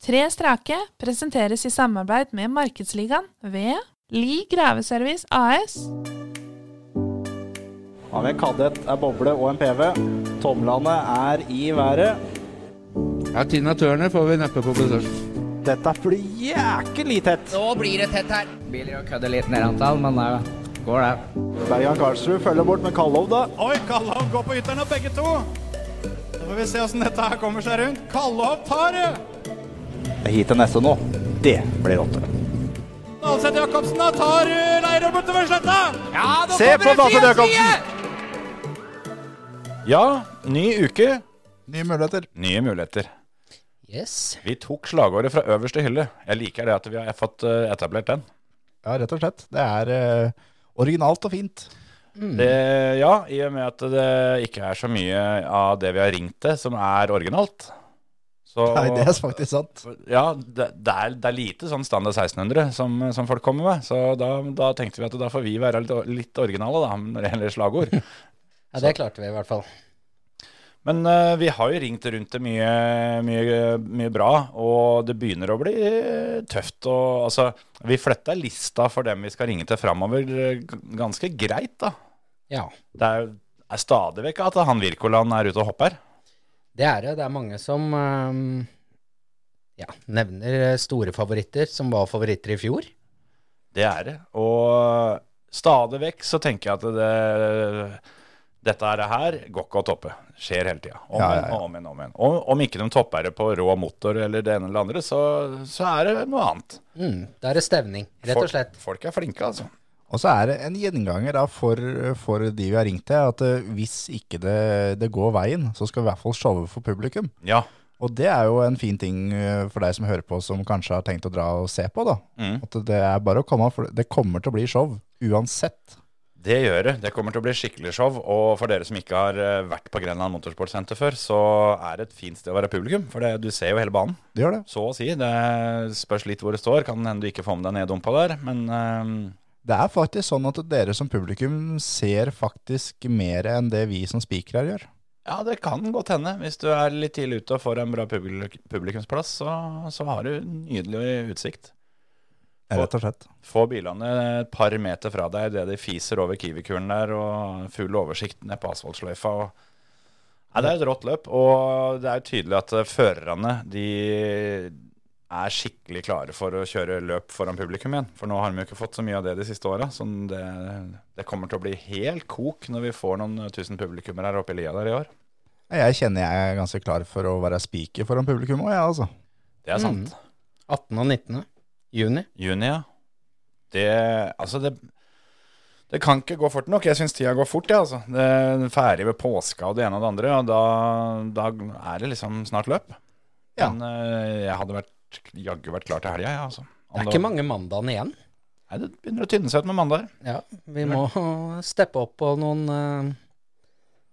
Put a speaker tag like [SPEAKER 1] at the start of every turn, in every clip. [SPEAKER 1] Tre strake presenteres i samarbeid med Markedsligaen ved Li Graveservice AS.
[SPEAKER 2] Har vi en kadett, en boble og en PV. Tomlene er i været.
[SPEAKER 3] Ja, Tina Turner får vi neppe på besøk.
[SPEAKER 2] Dette blir jækelig tett.
[SPEAKER 4] Nå blir det tett her. Biler å kødde litt ned antall, men det går det.
[SPEAKER 2] Bergan Karlsrud følger bort med Kallov, da.
[SPEAKER 5] Oi, Kallov går på ytteren og begge to. Da får vi se åssen dette her kommer seg rundt. Kallov tar det!
[SPEAKER 2] Hit til neste nå. Det blir åtte.
[SPEAKER 5] Dalseth Jacobsen da tar eh, Leirøy bortover sletta. Ja, da
[SPEAKER 2] Se på Dalseth Jacobsen!
[SPEAKER 6] Ja, ny uke,
[SPEAKER 3] Nye muligheter.
[SPEAKER 6] nye muligheter.
[SPEAKER 4] Yes.
[SPEAKER 6] Vi tok slagordet fra øverste hylle. Jeg liker det at vi har fått eh, etablert den.
[SPEAKER 3] Ja, rett og slett. Det er eh, originalt og fint.
[SPEAKER 6] Det, ja, i og med at det ikke er så mye av det vi har ringt til som er originalt. Så,
[SPEAKER 3] Nei, det er faktisk sant.
[SPEAKER 6] Ja, det, det, er, det er lite sånn standard 1600 som, som folk kommer med. Så da, da tenkte vi at da får vi være litt, litt originale da, når det gjelder slagord.
[SPEAKER 4] Ja, det klarte vi i hvert fall.
[SPEAKER 6] Men eh, vi har jo ringt rundt til mye, mye, mye bra, og det begynner å bli eh, tøft. Og, altså, vi flytter lista for dem vi skal ringe til framover eh, g- ganske greit, da.
[SPEAKER 4] Ja.
[SPEAKER 6] Det er, er stadig vekk at han Wirkoland er ute og hopper.
[SPEAKER 4] Det er det. Det er mange som ehm, ja, nevner eh, store favoritter som var favoritter i fjor.
[SPEAKER 6] Det er det. Og stadig vekk så tenker jeg at det, dette er det her går ikke å toppe. Skjer hele tida. Om
[SPEAKER 3] Ja, ja,
[SPEAKER 6] igjen
[SPEAKER 3] ja.
[SPEAKER 6] og om igjen. Om, igjen. Om, om ikke de topper det på rå motor eller det ene eller det andre, så, så er det noe annet.
[SPEAKER 4] Mm, da er det stevning, rett og slett.
[SPEAKER 6] Folk, folk er flinke, altså.
[SPEAKER 3] Og så er det en gjenganger da for, for de vi har ringt til, at eh, hvis ikke det, det går veien, så skal vi i hvert fall showe for publikum.
[SPEAKER 6] Ja.
[SPEAKER 3] Og det er jo en fin ting eh, for deg som hører på, som kanskje har tenkt å dra og se på, da.
[SPEAKER 6] Mm.
[SPEAKER 3] At det er bare å komme, for det kommer til å bli show uansett.
[SPEAKER 6] Det gjør det. Det kommer til å bli skikkelig show. Og for dere som ikke har eh, vært på Grenland Motorsportsenter før, så er det et fint sted å være publikum. For det, du ser jo hele banen,
[SPEAKER 3] Det gjør det.
[SPEAKER 6] så å si. Det spørs litt hvor det står. Kan hende du ikke får med deg neddumpa der, men eh,
[SPEAKER 3] Det er faktisk sånn at dere som publikum ser faktisk mer enn det vi som spikere gjør.
[SPEAKER 6] ja, det kan godt hende. Hvis du er litt tidlig ute og får en bra publik publikumsplass, så, så har du nydelig utsikt.
[SPEAKER 3] Rett og slett.
[SPEAKER 6] Få bilene et par meter fra deg idet de fiser over kiwikuren der, og full oversikt ned på asfaltsløyfa. Og... Nei, det er et rått løp, og det er jo tydelig at eh, førerne de er skikkelig klare for å kjøre løp foran publikum igjen. For nå har de jo ikke fått så mye av det de siste åra. Så det, det kommer til å bli helt kok når vi får noen tusen publikummere her oppe i lia der i år.
[SPEAKER 3] Jeg kjenner jeg er ganske klar for å være spiker foran publikum òg, jeg, altså.
[SPEAKER 6] Det er sant.
[SPEAKER 4] 18. og 19. juni.
[SPEAKER 6] Juni, ja. Det Altså, det Det kan ikke gå fort nok. Jeg syns tida går fort, jeg, altså. Det er ferdig ved påska og det ene og det andre, og da, da er det liksom snart løp.
[SPEAKER 3] Ja.
[SPEAKER 6] Men eh, jeg hadde vært jaggu vært klar til helga, jeg, altså. Om
[SPEAKER 4] Det er
[SPEAKER 6] da-
[SPEAKER 4] ikke mange mandagene igjen.
[SPEAKER 6] Nei, det begynner å tynne seg ut med mandager.
[SPEAKER 4] Ja, vi må steppe opp på noen, eh,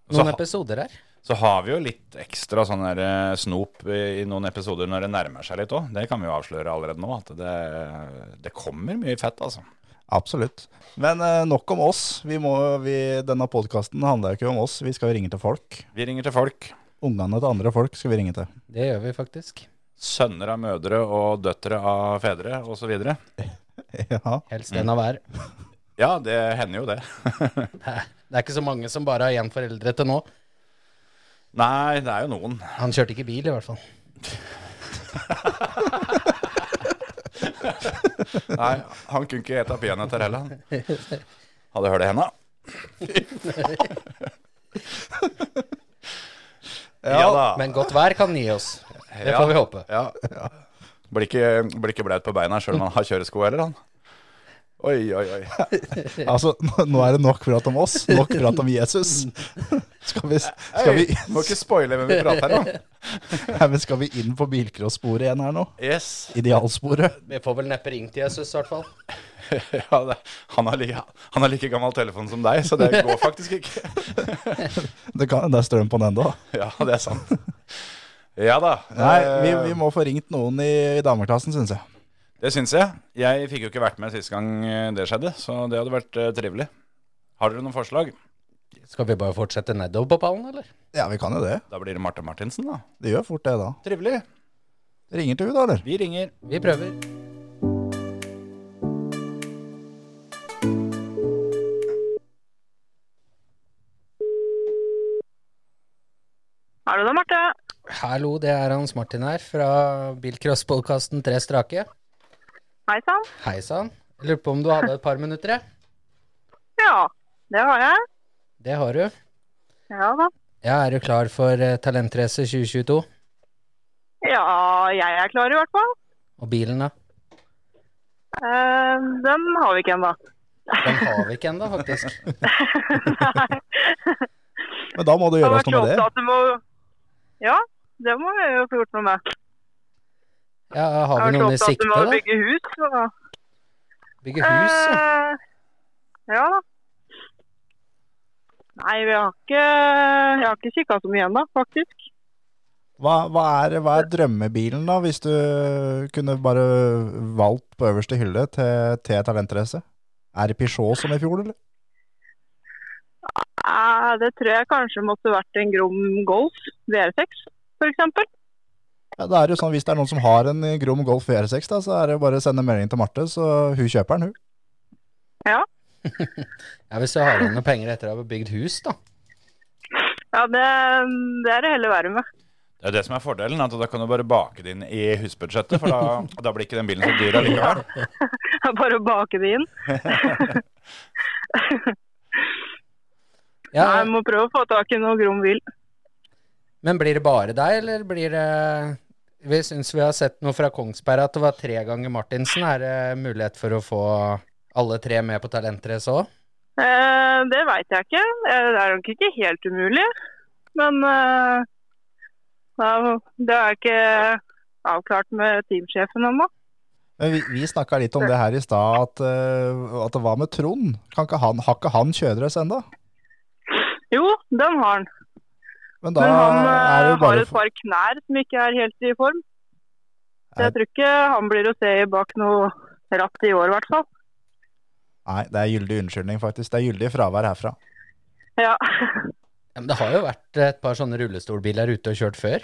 [SPEAKER 6] Så
[SPEAKER 4] noen
[SPEAKER 6] ha-
[SPEAKER 4] episoder her.
[SPEAKER 6] Så har vi jo litt ekstra sånn der eh, snop i, i noen episoder når det nærmer seg litt òg. Det kan vi jo avsløre allerede nå, at det, det kommer mye fett, altså.
[SPEAKER 3] Absolutt. Men eh, nok om oss. Vi må, vi, denne podkasten handler jo ikke om oss. Vi skal jo ringe til folk.
[SPEAKER 6] Vi ringer til folk.
[SPEAKER 3] Ungene til andre folk skal vi ringe til.
[SPEAKER 4] Det gjør vi faktisk.
[SPEAKER 6] Sønner av mødre og døtre av fedre osv.
[SPEAKER 3] ja.
[SPEAKER 4] Helst en av hver.
[SPEAKER 6] Ja, det hender jo det.
[SPEAKER 4] Det er- det er ikke så mange som bare har én foreldre til nå.
[SPEAKER 6] Nei, det er jo noen.
[SPEAKER 4] Han kjørte ikke bil, i hvert fall.
[SPEAKER 6] Nei, Han kunne ikke ete peanøtter heller. han. Hadde hørt det henda. ja, da.
[SPEAKER 4] Men godt vær kan gi oss. Det får vi håpe.
[SPEAKER 6] Ja. Blir ikke, blir ikke blaut på beina sjøl om han har kjøresko heller, han. Oi, oi, oi.
[SPEAKER 3] Altså, nå- nå er det nok prat om oss. Nok prat om Jesus. Skal vi, skal vi,
[SPEAKER 6] Hei, må ikke spoile hvem vi prater om.
[SPEAKER 3] Nei, men skal vi inn på bilcross-sporet igjen her nå?
[SPEAKER 6] Yes.
[SPEAKER 3] Idealsporet.
[SPEAKER 4] Vi får vel neppe ringt Jesus, i hvert fall.
[SPEAKER 6] Ja, det, han, har like, han har like gammel telefon som deg, så det går faktisk ikke.
[SPEAKER 3] Det, kan, det er strøm på den ennå.
[SPEAKER 6] Ja, det er sant. Ja da.
[SPEAKER 3] Nei, vi, vi må få ringt noen i, i dameklassen, syns jeg.
[SPEAKER 6] Det syns jeg. Jeg fikk jo ikke vært med sist gang eh, det skjedde, så det hadde vært eh, trivelig. Har dere noen forslag?
[SPEAKER 4] Skal vi bare fortsette nedover på pallen, eller?
[SPEAKER 3] Ja, vi kan jo det.
[SPEAKER 6] Da blir det Marte Martinsen, da.
[SPEAKER 3] Det gjør fort det, da.
[SPEAKER 6] Trivelig.
[SPEAKER 3] Ringer til henne, da, eller?
[SPEAKER 6] Vi ringer.
[SPEAKER 4] Vi prøver.
[SPEAKER 7] Hallo da, Marte.
[SPEAKER 4] Hallo, det er Hans Martin her fra Bilcross-podkasten Tre strake.
[SPEAKER 7] Hei sann.
[SPEAKER 4] Hei sann. Jeg Lurer på om du hadde et par minutter? jeg?
[SPEAKER 7] Ja, det har jeg.
[SPEAKER 4] Det har du.
[SPEAKER 7] Ja da.
[SPEAKER 4] Ja, er du klar for eh, Talentrace 2022?
[SPEAKER 7] Ja, jeg er klar i hvert fall.
[SPEAKER 4] Og bilen, da?
[SPEAKER 7] Eh, den har vi ikke ennå.
[SPEAKER 4] Den har vi ikke ennå, faktisk.
[SPEAKER 3] Men da må det gjøres noe med det.
[SPEAKER 7] at du må Ja, det må jeg jo få gjort noe med.
[SPEAKER 4] Ja, har vi noen
[SPEAKER 7] Jeg
[SPEAKER 4] i
[SPEAKER 7] vært så opptatt
[SPEAKER 4] sikte,
[SPEAKER 7] med å
[SPEAKER 4] da?
[SPEAKER 7] bygge hus. Så...
[SPEAKER 4] Bygge hus, ja.
[SPEAKER 7] Eh, ja da. Nei, vi har ikke Jeg har ikke kikka så mye ennå, faktisk.
[SPEAKER 3] Hva, hva, er, hva er drømmebilen, da, hvis du kunne bare valgt på øverste hylle til, til talentrace? Er det Peugeot som i fjor, eller?
[SPEAKER 7] Eh, det tror jeg kanskje måtte vært en Grom Golf VR6, f.eks.
[SPEAKER 3] Ja, det er jo sånn, Hvis det er noen som har en Grom Golf VR6, da, så er det jo bare å sende melding til Marte, så hun kjøper den, hun.
[SPEAKER 4] ja. Hvis du har igjen noen penger etter å ha bygd hus, da.
[SPEAKER 7] Ja, det, det er det heller verre med.
[SPEAKER 6] Det er det som er fordelen, at da kan du bare bake det inn i husbudsjettet, for da, da blir ikke den bilen så dyr allikevel.
[SPEAKER 7] Bare å bake det inn.
[SPEAKER 4] Ja,
[SPEAKER 7] Nei, jeg må prøve å få tak i noe grom bil.
[SPEAKER 4] Men blir det bare deg, eller blir det Vi syns vi har sett noe fra Kongsberg at det var tre ganger Martinsen. Er det mulighet for å få alle tre med på Talentrace òg?
[SPEAKER 7] Eh, det veit jeg ikke. Eh, Det er nok ikke helt umulig. Men eh, ja, det er ikke avklart med teamsjefen ennå.
[SPEAKER 3] Men vi, vi snakka litt om det her i stad, at, eh, at det var med Trond. Kan ikke han, har ikke han kjøredress ennå?
[SPEAKER 7] Jo, den har han.
[SPEAKER 3] Men da
[SPEAKER 7] Men han
[SPEAKER 3] er det
[SPEAKER 7] eh,
[SPEAKER 3] jo
[SPEAKER 7] har
[SPEAKER 3] bare
[SPEAKER 7] et par knær som ikke er helt i form. Så
[SPEAKER 3] Nei.
[SPEAKER 7] jeg tror ikke han blir å se bak noe ratt i år, i hvert fall.
[SPEAKER 3] Nei, det er gyldig unnskyldning, faktisk. Det er gyldig fravær herfra.
[SPEAKER 7] Ja.
[SPEAKER 4] Ja, men det har jo vært et par sånne rullestolbiler ute og kjørt før.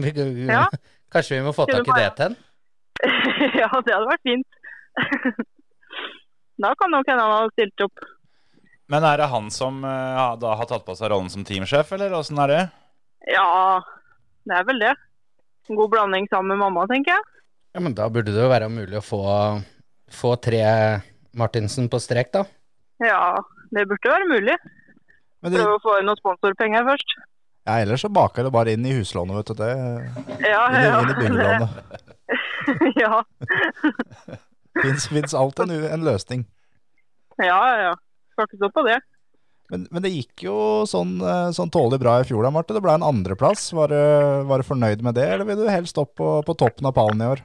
[SPEAKER 4] Vi,
[SPEAKER 7] Ja.
[SPEAKER 4] Kanskje vi må få
[SPEAKER 7] Skulle
[SPEAKER 4] tak i det
[SPEAKER 7] bare-
[SPEAKER 4] til en?
[SPEAKER 7] ja, det hadde vært fint. da kan nok hende han hadde stilt opp.
[SPEAKER 6] Men er det han som eh, ha- da har tatt på seg rollen som teamsjef, eller åssen er det?
[SPEAKER 7] Ja, det er vel det. En god blanding sammen med mamma, tenker jeg.
[SPEAKER 4] Ja, men da burde det jo være mulig å få, få tre Martinsen på strek, da.
[SPEAKER 7] Ja, det burde være mulig.
[SPEAKER 3] Men det,
[SPEAKER 7] Prøve å få inn noen sponsorpenger først.
[SPEAKER 3] ja, ellers så baker det bare inn i huslånet, vet du. Det,
[SPEAKER 7] Ja,
[SPEAKER 3] inn i,
[SPEAKER 7] ja.
[SPEAKER 3] inn i byggelånet.
[SPEAKER 7] ja,
[SPEAKER 3] Fins fins alltid en, u- en løsning.
[SPEAKER 7] ja, ja. Skal ikke stå på det.
[SPEAKER 3] Men, men det gikk jo sånn, eh, sånn tålelig bra i fjor da, Marte. Det ble en andreplass. Var, du- var du fornøyd med det, eller vil du helst opp på, på toppen av pallen i år?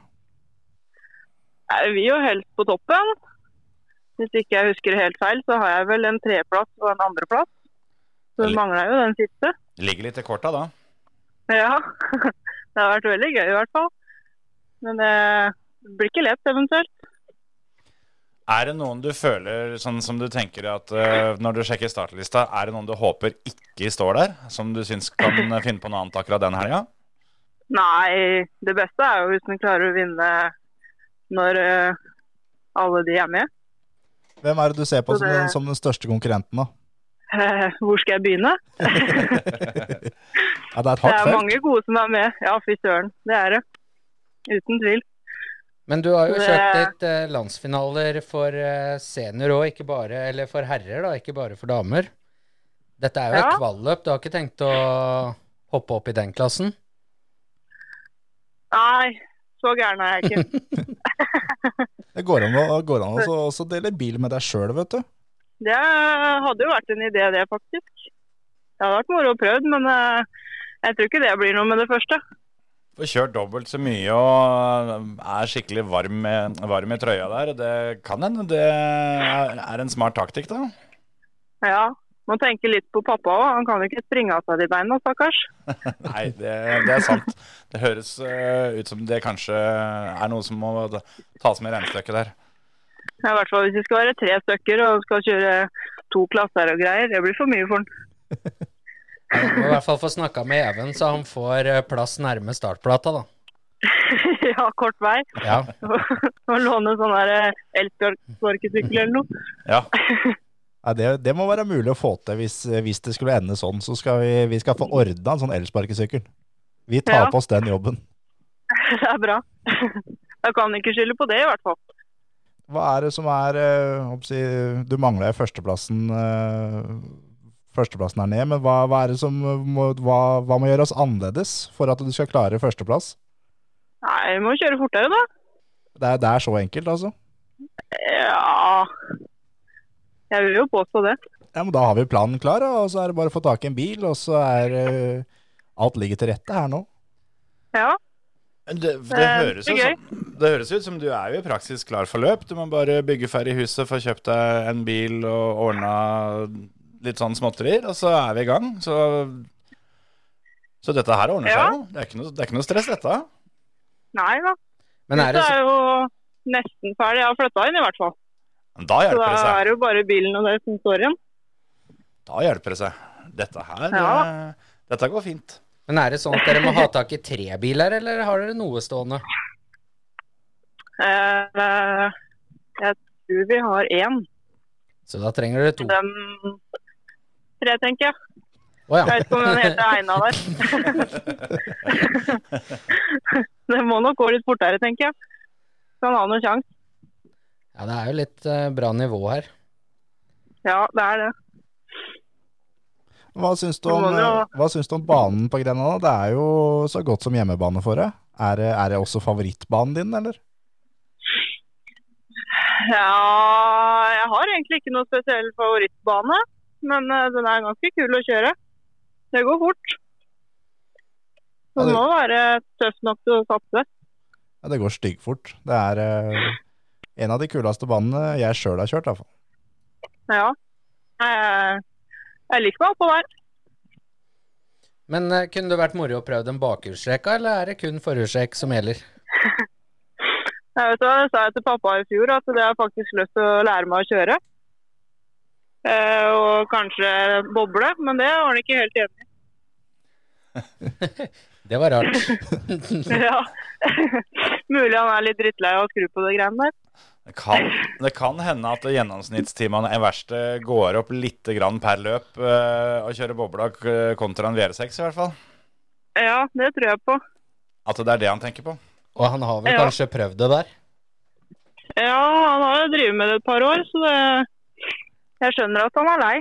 [SPEAKER 7] Jeg vil jo helst på toppen. Hvis ikke jeg husker helt feil, så har jeg vel en treplass og en andreplass. Så
[SPEAKER 6] Veldig.
[SPEAKER 7] mangler jeg jo den siste.
[SPEAKER 6] Ligger litt i korta da.
[SPEAKER 7] Ja, det har vært veldig gøy i hvert fall. Men eh, det blir ikke lett eventuelt.
[SPEAKER 6] Er det noen du føler sånn som du tenker at eh, når du sjekker startlista, er det noen du håper ikke står der? Som du syns kan eh, finne på noe annet akkurat den helga?
[SPEAKER 7] Nei, det beste er jo hvis den klarer å vinne når eh, alle de er med.
[SPEAKER 3] Hvem er det du ser på
[SPEAKER 7] Så
[SPEAKER 3] som
[SPEAKER 7] det-
[SPEAKER 3] den, som den største konkurrenten, da?
[SPEAKER 7] Eh, hvor skal jeg begynne?
[SPEAKER 3] Ja, det er et
[SPEAKER 7] Det
[SPEAKER 3] hardt
[SPEAKER 7] er
[SPEAKER 3] felt.
[SPEAKER 7] mange gode som er med. Ja, fy søren. Det er det. Uten tvil.
[SPEAKER 4] Men du har jo
[SPEAKER 7] Det-
[SPEAKER 4] kjørt litt eh, landsfinaler for eh, senior òg, ikke bare Eller for herrer, da, ikke bare for damer. Dette er jo
[SPEAKER 7] Ja.
[SPEAKER 4] et kvalløp, du har ikke tenkt å hoppe opp i den klassen?
[SPEAKER 7] Nei, så gæren er jeg ikke.
[SPEAKER 3] Det går an å, går an å også, også dele bil med deg sjøl, vet du.
[SPEAKER 7] Det hadde jo vært en idé, det, faktisk. Det hadde vært moro å prøve, men eh, jeg tror ikke det blir noe med det første.
[SPEAKER 6] Får kjørt dobbelt så mye og um, er skikkelig varm, med- varm i trøya der. Det kan hende det er er en smart taktikk, da.
[SPEAKER 7] Ja, må tenke litt på pappa òg. Han kan jo ikke springe av seg de beina, stakkars.
[SPEAKER 6] Nei, det, det er sant. Det høres eh, ut som det kanskje er noe som må tas med i regnestykket der.
[SPEAKER 7] Ja, I hvert fall hvis vi skal være tre stykker og skal kjøre to klasser og greier. Det blir for mye for han.
[SPEAKER 4] Du må i hvert fall få snakka med Even, så han får eh, plass nærme startplata, da.
[SPEAKER 7] ja, kort vei.
[SPEAKER 4] Ja.
[SPEAKER 7] Å låne sånn der elsparkesykkel eller noe.
[SPEAKER 6] Ja.
[SPEAKER 3] Nei, det, det må være mulig å få til hvis, hvis det skulle ende sånn. Så skal vi, vi skal få ordna en sånn elsparkesykkel. Vi tar
[SPEAKER 7] Ja.
[SPEAKER 3] på oss den jobben.
[SPEAKER 7] Det er bra. Da kan han ikke skylde på det, i hvert fall.
[SPEAKER 3] Hva er det som er eh, hva skal jeg si, Du mangler førsteplassen eh, Førsteplassen her ned, men hva, hva er det som eh, må, hva, hva må gjøres annerledes for at du skal klare førsteplass?
[SPEAKER 7] Nei, vi må kjøre fortere, da.
[SPEAKER 3] Det er, det er så enkelt, altså.
[SPEAKER 7] Ja Jeg vil jo påstå det.
[SPEAKER 3] Ja, men Da har vi planen klar, da, og så er det bare å få tak i en bil, og så er eh, alt ligger til rette her nå.
[SPEAKER 7] Ja.
[SPEAKER 6] Det, det,
[SPEAKER 7] Eh,
[SPEAKER 6] høres jo
[SPEAKER 7] det er
[SPEAKER 6] som, det høres ut som du er jo i praksis klar for løp. Du må bare bygge ferdig huset, få kjøpt deg en bil og ordna litt sånn småtterier, og så er vi i gang. Så, så dette her ordner
[SPEAKER 7] Ja.
[SPEAKER 6] seg jo. Det er ikke noe, det er ikke noe stress, dette.
[SPEAKER 7] Nei da.
[SPEAKER 4] Men er
[SPEAKER 7] Det
[SPEAKER 4] det så,
[SPEAKER 7] er jo nesten ferdig. Jeg har flytta inn, i hvert fall.
[SPEAKER 6] Men Da
[SPEAKER 7] Så da
[SPEAKER 6] hjelper det seg.
[SPEAKER 7] er det jo bare bilen og det som står igjen.
[SPEAKER 6] Da hjelper det seg. Dette her
[SPEAKER 7] Ja.
[SPEAKER 6] eh, Dette går fint.
[SPEAKER 4] men er det sånn at dere må ha tak i tre biler, eller har dere noe stående?
[SPEAKER 7] Eh, Jeg tror vi har én.
[SPEAKER 4] Så da trenger dere to. Å
[SPEAKER 7] Den tre, tenker jeg. Jeg
[SPEAKER 4] ja.
[SPEAKER 7] vet ikke om den heter Eina der. det må nok gå litt fortere, tenker jeg. Kan ha noen sjanse.
[SPEAKER 4] ja. Det er jo litt eh, bra nivå her.
[SPEAKER 7] Ja, det er det.
[SPEAKER 3] Hva syns du
[SPEAKER 7] Det
[SPEAKER 3] om,
[SPEAKER 7] må det jo.
[SPEAKER 3] eh, hva syns du om banen på Grenada? Det er jo så godt som hjemmebane for deg. Er, det- er det også favorittbanen din, eller?
[SPEAKER 7] Ja, jeg har egentlig ikke noe spesiell favorittbane, men eh, den er ganske kul å kjøre. Det går fort.
[SPEAKER 3] Ja,
[SPEAKER 7] Så
[SPEAKER 3] det-
[SPEAKER 7] må være tøff nok til å satse.
[SPEAKER 3] Ja, det går styggfort. Det er eh, en av de kuleste banene jeg sjøl har kjørt, i hvert fall.
[SPEAKER 7] Ja. Jeg, jeg liker meg oppå der.
[SPEAKER 4] Men eh, kunne det vært moro å prøve den bakhjulstrekka, eller er det kun forhjulstrekk som gjelder?
[SPEAKER 7] Jeg vet hva jeg sa til pappa i fjor, at det har jeg faktisk lyst til å lære meg å kjøre. Eh, og kanskje boble, men det var han ikke helt enig i.
[SPEAKER 4] Det var rart.
[SPEAKER 7] Ja. Mulig han er litt drittlei av å skru på det greiene der.
[SPEAKER 6] Det kan, det kan hende at gjennomsnittstimene i verkstedet går opp litt grann per løp eh, å kjøre bobla k- kontra en VR6 i hvert fall.
[SPEAKER 7] Ja, det tror jeg på.
[SPEAKER 6] At det er det han tenker på.
[SPEAKER 4] Og han har vel
[SPEAKER 7] Ja.
[SPEAKER 4] kanskje prøvd det der?
[SPEAKER 7] Ja, han har jo drevet med det et par år, så det Jeg skjønner at han er lei.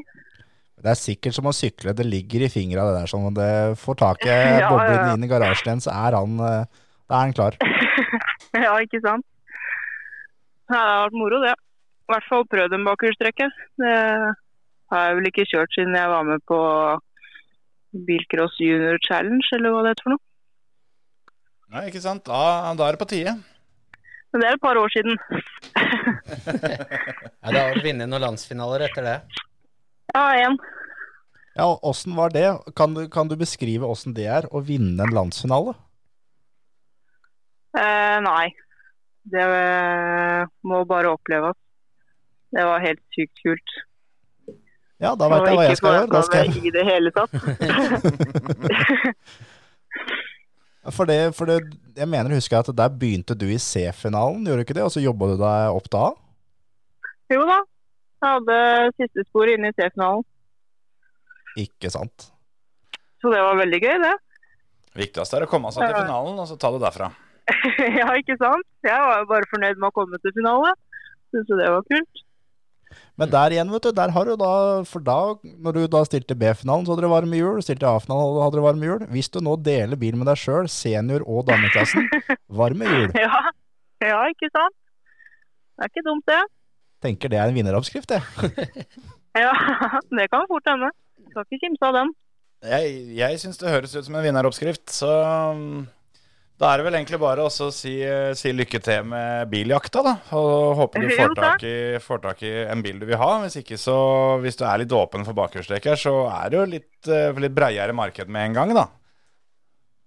[SPEAKER 3] Det er sikkert som å sykle, det ligger i fingra det der. Sånn, at det får tak i
[SPEAKER 7] Ja, ja,
[SPEAKER 3] boblen
[SPEAKER 7] ja.
[SPEAKER 3] inn i garasjen igjen, så er han, eh, da er han klar.
[SPEAKER 7] Ja, ikke sant? Nei, det har vært moro, det. I hvert fall prøvd en bakhjulstrekke. Det har jeg vel ikke kjørt siden jeg var med på Bilcross Junior Challenge, eller hva det heter for noe.
[SPEAKER 6] Nei, ikke sant? Da, da er det på tide.
[SPEAKER 7] Men det er et par år siden.
[SPEAKER 4] Ja, det har vel vunnet noen landsfinaler etter det.
[SPEAKER 7] Ja, én.
[SPEAKER 3] Ja, og Åssen var det? Kan du, kan du beskrive åssen det er å vinne en landsfinale?
[SPEAKER 7] Eh, nei. Det eh, må bare oppleves. Det var helt sykt kult.
[SPEAKER 3] Ja, da veit jeg hva jeg skal gjøre. Da skal jeg
[SPEAKER 7] jeg... I det hele tatt.
[SPEAKER 3] For det, for det, jeg mener, husker jeg at der begynte du i C-finalen, gjorde du ikke det? Og så jobba du deg opp da?
[SPEAKER 7] Jo da. Jeg hadde siste sporet inne i C-finalen,
[SPEAKER 3] Ikke sant?
[SPEAKER 7] så det var veldig gøy, det.
[SPEAKER 6] Viktigst er å komme seg til finalen, og så ta det derfra.
[SPEAKER 7] ja, ikke sant? Jeg var jo bare fornøyd med å komme til finale. Syns jo det var kult.
[SPEAKER 3] Men der igjen, vet du, der har du da For da, når du da stilte B-finalen, så hadde du varm hjul. Stilte A-finalen, hadde du varm hjul. Hvis du nå deler bil med deg sjøl, senior og dameklassen, varme hjul.
[SPEAKER 7] Ja. ja, ikke sant? Det er ikke dumt, det.
[SPEAKER 3] Tenker det er en vinneroppskrift, det.
[SPEAKER 7] Ja, Det kan fort hende. Skal ikke kimse av den.
[SPEAKER 6] Jeg, jeg syns det høres ut som en vinneroppskrift, så um, da er det vel egentlig bare også å si, eh, si lykke til med biljakta, da. Og håper du
[SPEAKER 7] Jo,
[SPEAKER 6] får tak, i, får tak i en bil du vil ha. Hvis ikke, så hvis du er litt åpen for bakhjulstreker, så er det jo litt, eh, litt breiere marked med en gang, da.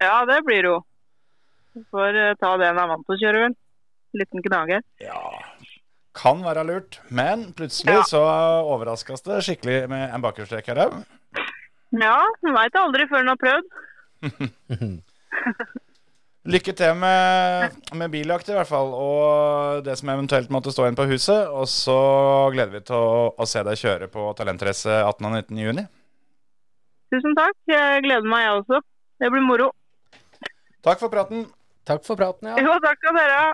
[SPEAKER 7] Ja, det blir det jo. Du Får eh, ta det en er vant til å kjøre, vel. Liten gnager.
[SPEAKER 6] Ja, kan være lurt, men plutselig
[SPEAKER 7] Ja.
[SPEAKER 6] så overraskes det skikkelig med en bakhjulstreker òg.
[SPEAKER 7] Ja, man veit aldri før en har prøvd.
[SPEAKER 6] Lykke til med, med biljakt, i hvert fall, og det som eventuelt måtte stå igjen på huset. Og så gleder vi til å, å se deg kjøre på Talentrace 18. og 19. juni.
[SPEAKER 8] Tusen takk. Jeg gleder meg, jeg også. Det blir moro.
[SPEAKER 6] Takk for praten.
[SPEAKER 4] Takk for praten, ja.
[SPEAKER 8] Jo, takk skal dere ha.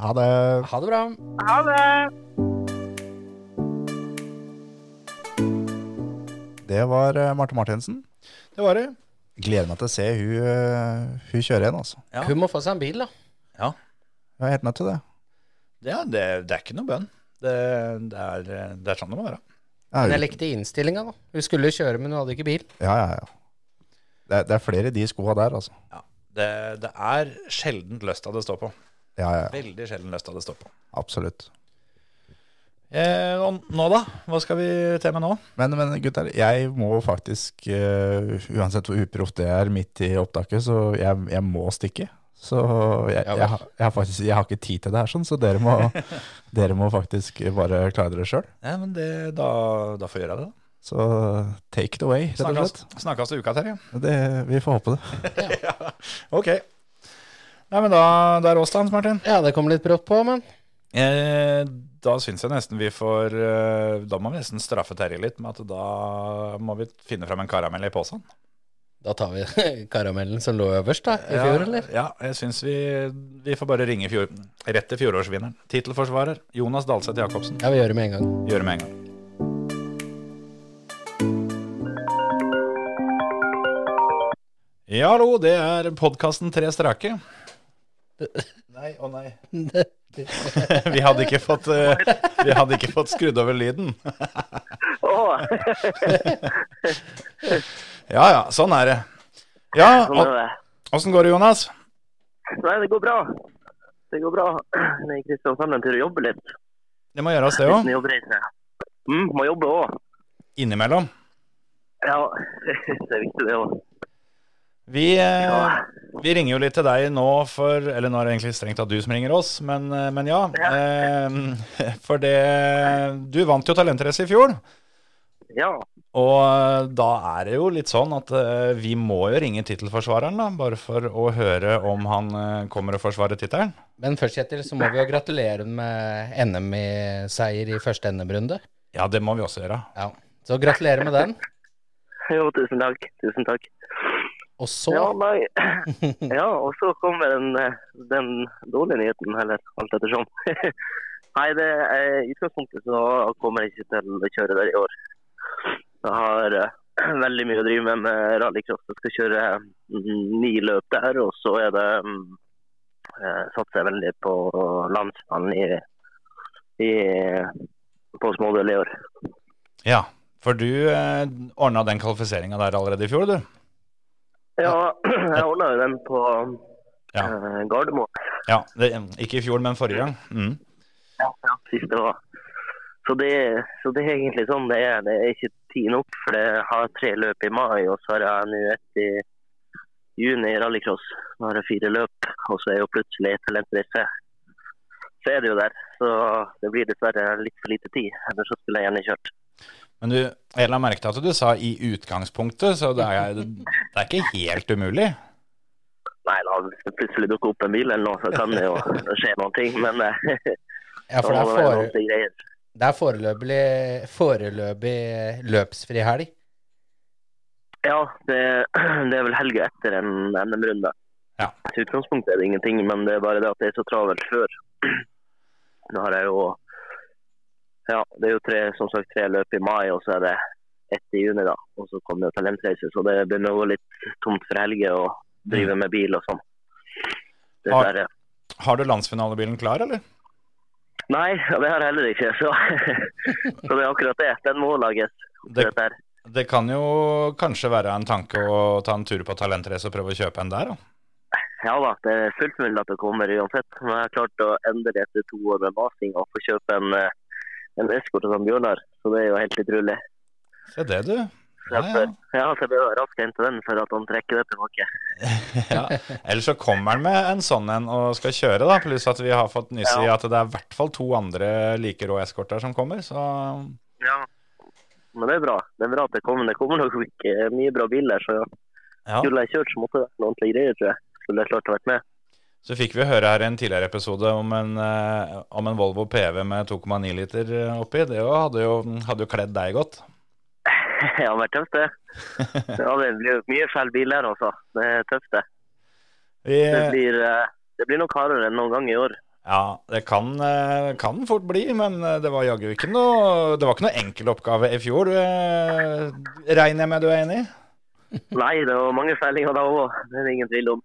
[SPEAKER 3] Ha det.
[SPEAKER 4] Ha det bra.
[SPEAKER 8] Ha det.
[SPEAKER 3] Det var eh, Marte Martinsen.
[SPEAKER 6] Det var det.
[SPEAKER 3] Gleder meg til å se hun, eh, hun kjøre igjen, altså.
[SPEAKER 6] Ja.
[SPEAKER 4] Hun må få seg en bil, da.
[SPEAKER 3] Jeg er helt nødt til det.
[SPEAKER 6] Ja, det, det er ikke noe bønn. Det, det, er, det er sånn det må være.
[SPEAKER 3] Ja,
[SPEAKER 4] Men
[SPEAKER 3] hun-
[SPEAKER 4] jeg likte innstillinga, da. Hun skulle kjøre, men hun hadde ikke bil.
[SPEAKER 3] Ja, ja, ja. Det, er- det er flere i de skoa der, altså.
[SPEAKER 6] Det, det er sjelden løsta det står på.
[SPEAKER 3] Ja, ja, ja.
[SPEAKER 6] Veldig sjelden løsta det står på.
[SPEAKER 3] absolutt.
[SPEAKER 6] Eh, og nå, da? Hva skal vi til med nå?
[SPEAKER 3] Men, men gutter, jeg må faktisk, eh, uansett hvor uproft det er midt i opptaket, så jeg, jeg må stikke. Så jeg,
[SPEAKER 4] Ja vel.
[SPEAKER 3] jeg, har- jeg, har faktisk, jeg har ikke tid til det her, sånn, så dere må, dere må faktisk bare klare dere sjøl.
[SPEAKER 6] Ja, men det, da, da får jeg gjøre det, da.
[SPEAKER 3] Så take it away, rett og slett.
[SPEAKER 6] Snakkes, snakkes til uka, Terje.
[SPEAKER 3] Det, vi får håpe det.
[SPEAKER 6] Ok. Nei, men da, det er oss, da, Hans Martin.
[SPEAKER 4] Ja, det kom litt brått på, men
[SPEAKER 6] Eh, da syns jeg nesten vi får eh, Da må vi nesten straffe Terje litt med at da må vi finne fram en karamell i posen.
[SPEAKER 4] da tar vi karamellen som lå øverst, da, i fjor, eller?
[SPEAKER 6] Ja, jeg syns vi, vi får bare ringe fjor, rett til fjorårsvinneren. Tittelforsvarer Jonas Dalseth Jacobsen.
[SPEAKER 4] Ja, vi gjør det med en gang.
[SPEAKER 6] Gjøre med en gang. Ja, hallo, det er podkasten Tre strake. Nei, å nei. Vi hadde ikke fått, eh, vi hadde ikke fått skrudd over lyden.
[SPEAKER 7] Åh,
[SPEAKER 6] Ja ja, sånn er det. Ja,
[SPEAKER 7] sånn er
[SPEAKER 6] å-
[SPEAKER 7] det.
[SPEAKER 6] åssen går det, Jonas?
[SPEAKER 7] Nei, det går bra. Det går bra. Jeg er i Kristiansand en tur og jobber litt.
[SPEAKER 6] Det må gjøres, det òg.
[SPEAKER 7] Liten jobbreise. Mm, må jobbe òg.
[SPEAKER 6] Innimellom.
[SPEAKER 7] Ja, det er viktig det òg.
[SPEAKER 6] Vi, eh,
[SPEAKER 7] Ja.
[SPEAKER 6] vi ringer jo litt til deg nå for Eller nå er det egentlig strengt tatt du som ringer oss, men, eh, men ja. Eh, for det Du vant jo Talentrace i fjor.
[SPEAKER 7] Ja,
[SPEAKER 6] Og eh, da er det jo litt sånn at eh, vi må jo ringe tittelforsvareren, da, bare for å høre om han eh, kommer og forsvarer tittelen.
[SPEAKER 4] Men først, Kjetil, så må vi jo gratulere med NM-seier i første NM-runde.
[SPEAKER 6] Ja, det må vi også gjøre.
[SPEAKER 4] Ja. Så gratulerer med den.
[SPEAKER 7] jo, tusen takk. Tusen takk.
[SPEAKER 4] Og så
[SPEAKER 7] Ja, nei. ja, og så kommer den, eh, den dårlige nyheten, eller alt ettersom. nei, det er i utgangspunktet så kommer jeg ikke til å kjøre der i år. Jeg har eh, veldig mye å drive med med rallycross. Jeg skal kjøre mm, ni løp der, og så er det mm, eh, satser jeg veldig på landsmannen i, i på smådøl i år.
[SPEAKER 6] Ja, for du eh, ordna den kvalifiseringa der allerede i fjor, du.
[SPEAKER 7] Ja, jeg ordna jo den på
[SPEAKER 6] Ja.
[SPEAKER 7] eh, Gardermoen.
[SPEAKER 6] Ja, det, Ikke i fjor, men forrige gang. Mm.
[SPEAKER 7] Ja, ja, siste år. Så det, så det er egentlig sånn det er. Det er ikke tid nok, for jeg har tre løp i mai, og så har jeg nå ett i juni i rallycross. Nå har jeg fire løp, og så er jo plutselig talentrace. Så er det jo der. Så det blir dessverre litt for lite tid. Ellers så skulle jeg gjerne kjørt.
[SPEAKER 6] Men du, jeg la merke til at du sa 'i utgangspunktet', så det er, det er ikke helt umulig.
[SPEAKER 7] Nei da, hvis det plutselig dukker opp en bil eller noe, så kan det jo skje noen ting. Men eh,
[SPEAKER 4] Ja, for
[SPEAKER 7] da
[SPEAKER 4] det
[SPEAKER 7] må
[SPEAKER 4] er,
[SPEAKER 7] det være
[SPEAKER 4] fore,
[SPEAKER 7] noen greier.
[SPEAKER 4] det er foreløpig, foreløpig løpsfri helg.
[SPEAKER 7] Ja, det, det er vel helga etter en NM-runde.
[SPEAKER 6] Ja.
[SPEAKER 7] I utgangspunktet er det ingenting, men det er bare det at det er så travelt før. Nå har jeg jo Ja, det er jo tre, som sagt, tre løp i mai, og så er det ett i juni, da. Og så kommer jo talentreise, så det begynner å gå litt tomt for helger å drive med bil og sånn. Dessverre.
[SPEAKER 6] Har du landsfinalebilen klar, eller?
[SPEAKER 7] Nei, ja, det har jeg heller ikke, så, så det er akkurat det. Den må lages.
[SPEAKER 6] Det,
[SPEAKER 7] akkurat der.
[SPEAKER 6] det kan jo kanskje være en tanke å ta en tur på Talentrace og prøve å kjøpe en der, da.
[SPEAKER 7] Ja da, det er fullt mulig at det kommer uansett. Men jeg har klart å endelig etter to år med masing og få kjøpe en, eh, en eskort som Bjørnar. Så det er jo helt utrolig.
[SPEAKER 6] Se det, du. Ja, ja.
[SPEAKER 7] Ja, så jeg ble raskt hente den for at han trekker det tilbake.
[SPEAKER 6] Ja. Eller så kommer han med en sånn en og skal kjøre, da. Pluss at vi har fått nyss i
[SPEAKER 7] Ja.
[SPEAKER 6] at det er i hvert fall to andre like rå eskorter som kommer. Så
[SPEAKER 7] Ja. Men det er bra. Det er bra at det kommer. Det kommer nok ikke mye bra biler, så ja.
[SPEAKER 6] ja.
[SPEAKER 7] skulle jeg kjørt, så måtte det vært noen ordentlige greier, tror jeg. Skulle jeg klart å vært med.
[SPEAKER 6] Så fikk vi høre her i en tidligere episode om en, eh, om en Volvo PV med 2,9 liter oppi. Det jo hadde jo, hadde jo kledd deg godt.
[SPEAKER 7] Ja, det er tøft, det. Ja, det blir mye feil biler, altså. Det er tøft, det.
[SPEAKER 6] Vi,
[SPEAKER 7] Det blir, eh, det blir nok hardere enn noen gang i år.
[SPEAKER 6] Ja, det kan, eh, kan fort bli, men eh, det var jaggu ikke noe Det var ikke noe enkel oppgave i fjor. eh, Regner jeg med du er enig? i?
[SPEAKER 7] Nei, det var mange feilinger da òg. Det er det ingen tvil om.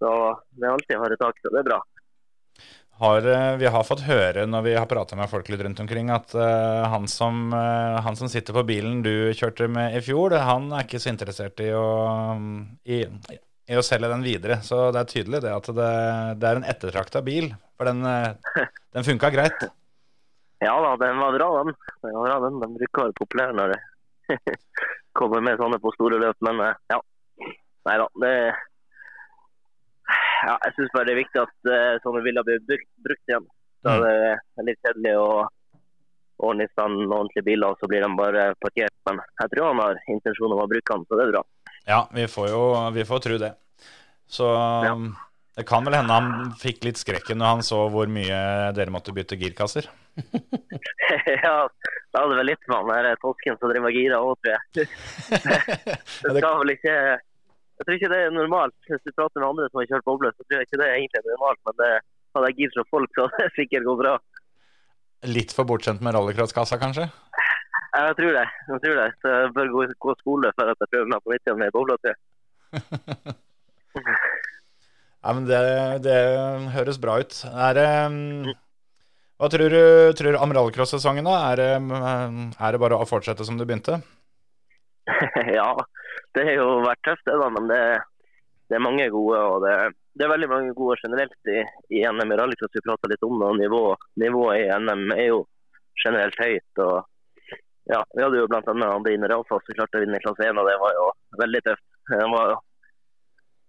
[SPEAKER 7] Så det er alltid harde tak, så det er bra.
[SPEAKER 6] Har, eh, vi har fått høre når vi har prata med folk litt rundt omkring, at eh, han som, eh, han som sitter på bilen du kjørte med i fjor, han er ikke så interessert i å, mm, i, i å selge den videre. Så det er tydelig det at det, det er en ettertrakta bil. For den, eh, den funka greit.
[SPEAKER 7] Ja da, den var bra, den. Den, var bra, den. den bruker å være populær når det kommer med sånne på store løp, men eh, ja. Nei da, det ja, Jeg syns bare det er viktig at eh, sånne biler blir brukt, brukt igjen. Da er det er litt kjedelig å ordne i stand ordentlige biler, og så blir de bare parkert. Men jeg tror han har intensjon om å bruke den, så det er bra.
[SPEAKER 6] Ja, vi får jo vi får tro det. Så um, det kan vel hende han fikk litt skrekken når han så hvor mye dere måtte bytte girkasser.
[SPEAKER 7] ja, da er det vel litt med han der eh, tosken som driver og girer òg, tror jeg. Det skal vel ikke Jeg tror ikke det er normalt. Hvis du prater med andre som har kjørt boble, så tror jeg ikke det er egentlig normalt. Men det hadde jeg gitt fra folk, så hadde det sikkert gått bra.
[SPEAKER 6] Litt for bortskjemt med rallycrosskassa, kanskje?
[SPEAKER 7] Jeg tror det. Jeg tror det. Så jeg bør gå, gå skole for at jeg prøver meg på nytt igjen med boble. tror jeg.
[SPEAKER 6] Ja, men det, det høres bra ut. Er det um, Hva tror du tror du om rallycross-sesongen, da? Er det, um, er det bare å fortsette som du begynte?
[SPEAKER 7] ja, det har jo vært tøft, det da, men det, det er mange gode. og det, det er veldig mange gode generelt i, i NM i rallycross. Vi prata litt om det, og nivå, nivået i NM er jo generelt høyt. og ja, Vi hadde jo bl.a. Andine Ralfas som klarte å vinne i klasse 1, og det var jo veldig tøft. Det var,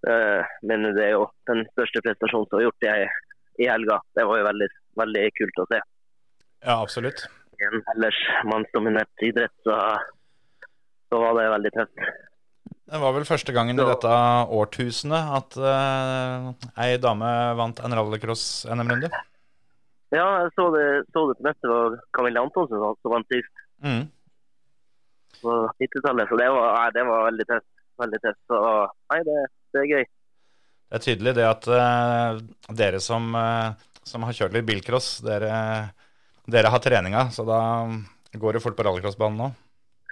[SPEAKER 7] eh, men det er jo den største prestasjonen som er gjort i, i helga. Det var jo veldig, veldig kult å se
[SPEAKER 6] Ja, absolutt.
[SPEAKER 7] i en ellers mannsdominert idrett, så, så var det veldig tøft.
[SPEAKER 6] Det var vel første gangen i dette årtusenet at uh, ei dame vant en rallycross-NM-runde.
[SPEAKER 7] Ja, jeg så det, så det på nettet. Det var Camilla Antonsen som som vant sist
[SPEAKER 6] Mm.
[SPEAKER 7] på 90-tallet. Så det var, nei, det var veldig tøft. Veldig tøft. Så nei, det, det er gøy.
[SPEAKER 6] Det er tydelig det at eh, dere som, eh, som har kjørt litt bilcross, dere, dere har treninga, så da går det fort på rallycrossbanen nå.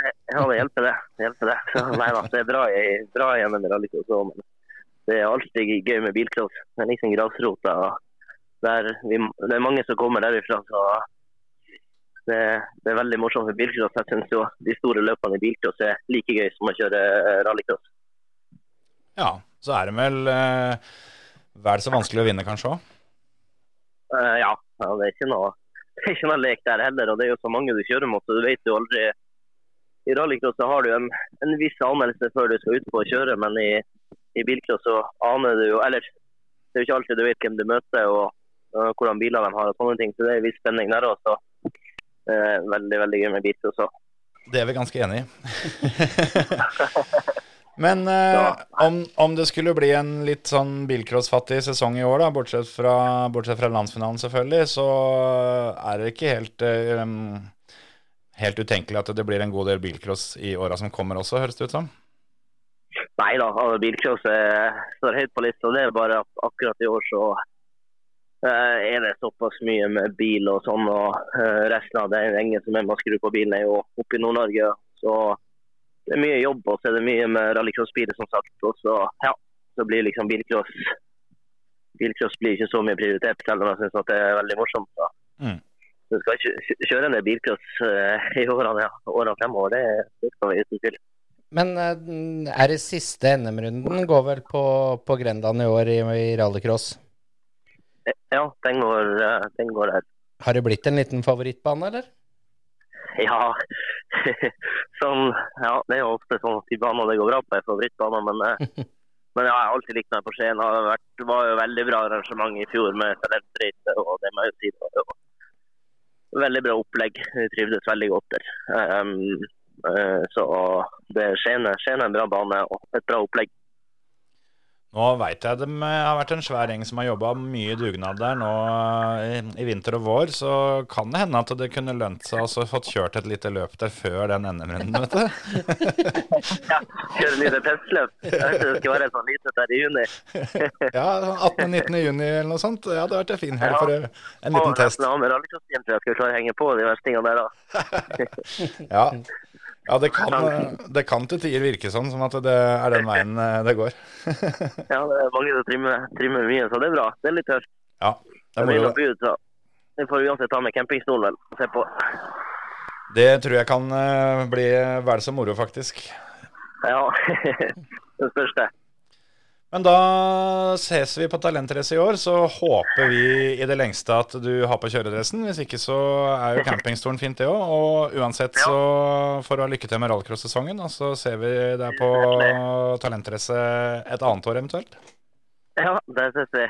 [SPEAKER 7] Ja, det hjelper det. det, hjelper det. Så, nei da, det er bra, i- bra igjen med rallycross òg, men det er alltid gøy med bilcross. Det er liksom grasrota. og Der vi, det er mange som kommer derifra, så det, det er veldig morsomt med bilcross. Jeg syns jo de store løpene i bilcross er like gøy som å kjøre eh, rallycross.
[SPEAKER 6] Ja, så er det vel eh, vel så vanskelig å vinne, kanskje òg.
[SPEAKER 7] Eh, ja, ja, det er ikke noe det er ikke noe lek der heller. og Det er jo så mange du kjører mot. så Du vet jo aldri I rallycross så har du en, en viss anelse før du skal ut på å kjøre, men i, i bilcross så aner du jo Eller det er jo ikke alltid du vet hvem du møter og, og hvordan biler de har og sånne ting. Så det er en viss spenning der også. Eh, veldig, veldig gøy med bilcross òg.
[SPEAKER 6] Det er vi ganske enig i. Men eh, om, om det skulle bli en litt sånn bilcrossfattig sesong i år, da, bortsett fra, bortsett fra landsfinalen selvfølgelig, så er det ikke helt, eh, um, helt utenkelig at det blir en god del bilcross i åra som kommer også, høres det ut som.
[SPEAKER 7] Nei da, altså, bilcross eh, står høyt på lista. Det er bare at akkurat i år så eh, er det såpass mye med bil og sånn. Og eh, resten av den gjengen som er med å skru på bilen, er jo oppe i Nord-Norge. Så det er mye jobb, og så er det mye med rallycrossbiler, som sagt. Og så, ja, så blir liksom bilcross Bilcross blir ikke så mye prioritert, selv om jeg syns det er veldig morsomt. Da.
[SPEAKER 6] Mm.
[SPEAKER 7] Du skal kjø- kjøre en del bilcross eh, i årene, ja. årene fremover, det, det skal vi uten tvil.
[SPEAKER 4] Men eh, er det siste NM-runden går vel på, på Grenland i år i, i rallycross?
[SPEAKER 7] Ja, den går, eh, den går her.
[SPEAKER 4] Har det blitt en liten favorittbane, eller?
[SPEAKER 7] Ja. sånn, ja, det er jo ofte sånn at de baner det går bra på, er favorittbaner. Men, eh, men ja, jeg har alltid likt meg på Skien. Det har vært, det var jo veldig bra arrangement i fjor med talentreise. og det må jeg jo si. Det var jo veldig bra opplegg. Vi trivdes veldig godt der. Ehm, eh, så det Skien er Skien er en bra bane og et bra opplegg.
[SPEAKER 6] Nå veit jeg det har vært en svær gjeng som har jobba mye dugnad der nå eh, i vinter og vår, så kan det hende at det kunne lønt seg å så fått kjørt et lite løp der før den NM-runden, vet du.
[SPEAKER 7] Kjøre lite testløp. Jeg vet ikke, det skal være sånn lite der i juni.
[SPEAKER 6] Ja, sånn 18.-19. juni eller noe sånt. Ja, det hadde vært en fin helg for en en
[SPEAKER 7] Og
[SPEAKER 6] liten test.
[SPEAKER 7] resten av med rallycrossbilen tror jeg skal klare å henge på de verste tingene der da.
[SPEAKER 6] Ja, ja det, kan, eh, det kan til tider virke sånn, som at det er den veien eh, det går.
[SPEAKER 7] Ja, det er mange som trimmer, trimmer mye, så det er bra. Det er litt tøft.
[SPEAKER 6] Ja, det
[SPEAKER 7] Det
[SPEAKER 6] er
[SPEAKER 7] blir
[SPEAKER 6] moro.
[SPEAKER 7] nok ut, så. Vi får uansett ta med campingstolen vel, og se på.
[SPEAKER 6] Det tror jeg kan eh, bli vel så moro, faktisk.
[SPEAKER 7] Ja, den største.
[SPEAKER 6] Men da ses vi på Talentreise i år, så håper vi i det lengste at du har på kjøredressen. Hvis ikke så er jo campingstolen fint, det òg. Og uansett så får du ha lykke til med rallcross-sesongen, og så ser vi deg på Talentreise et annet år eventuelt.
[SPEAKER 7] Ja, der ses vi.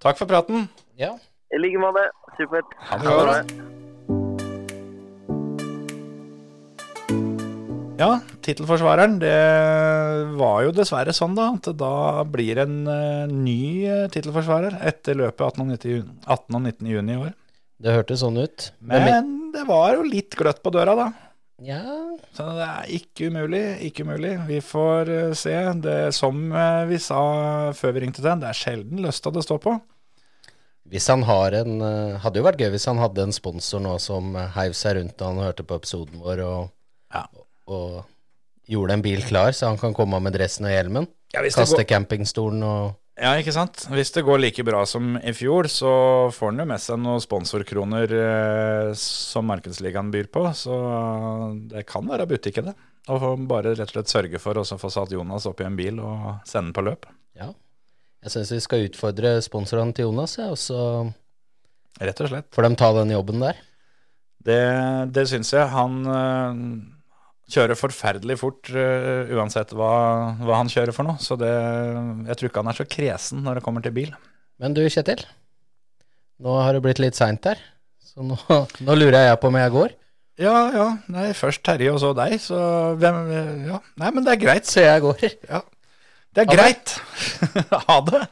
[SPEAKER 6] Takk for praten.
[SPEAKER 4] Ja.
[SPEAKER 7] I like måte. Supert.
[SPEAKER 6] Ha det bra. Ja, tittelforsvareren. Det var jo dessverre sånn, da, at da blir en eh, ny eh, tittelforsvarer etter løpet 18. og 19. juni- 18. og 19. juni i år.
[SPEAKER 4] Det hørtes sånn ut.
[SPEAKER 6] Men det var jo litt gløtt på døra, da.
[SPEAKER 4] ja,
[SPEAKER 6] Så det er ikke umulig, ikke umulig. Vi får eh, se. Det er som eh, vi sa før vi ringte til den, det er sjelden løsta det står på.
[SPEAKER 4] hvis han har en eh, Hadde jo vært gøy hvis han hadde en sponsor nå som eh, heiv seg rundt da han hørte på episoden vår og,
[SPEAKER 6] Ja.
[SPEAKER 4] og gjorde en bil klar, så han kan komme av med dressen og hjelmen.
[SPEAKER 6] Ja, hvis det
[SPEAKER 4] Kaste
[SPEAKER 6] går-
[SPEAKER 4] campingstolen og
[SPEAKER 6] Ja, ikke sant? Hvis det går like bra som i fjor, så får han jo med seg noen sponsorkroner eh, som Markedsligaen byr på, så det kan være butikk i det. Og få bare rett og slett sørge for å så få satt Jonas opp i en bil og sende den på løp.
[SPEAKER 4] Ja. Jeg syns vi skal utfordre sponsorene til Jonas, ja, og så
[SPEAKER 6] Rett og slett.
[SPEAKER 4] får de ta den jobben der.
[SPEAKER 6] Det, det syns jeg. Han øh, kjører forferdelig fort øh, uansett hva, hva han kjører for noe. Så det, jeg tror ikke han er så kresen når det kommer til bil.
[SPEAKER 4] Men du, Kjetil. Nå har det blitt litt seint her, så nå, nå lurer jeg på om jeg går.
[SPEAKER 6] Ja, ja. Nei, først Terje og så deg, så hvem Ja. Nei, men det er greit.
[SPEAKER 4] Så jeg går.
[SPEAKER 6] Det
[SPEAKER 4] Ha
[SPEAKER 6] er
[SPEAKER 4] det.
[SPEAKER 6] greit. ha det.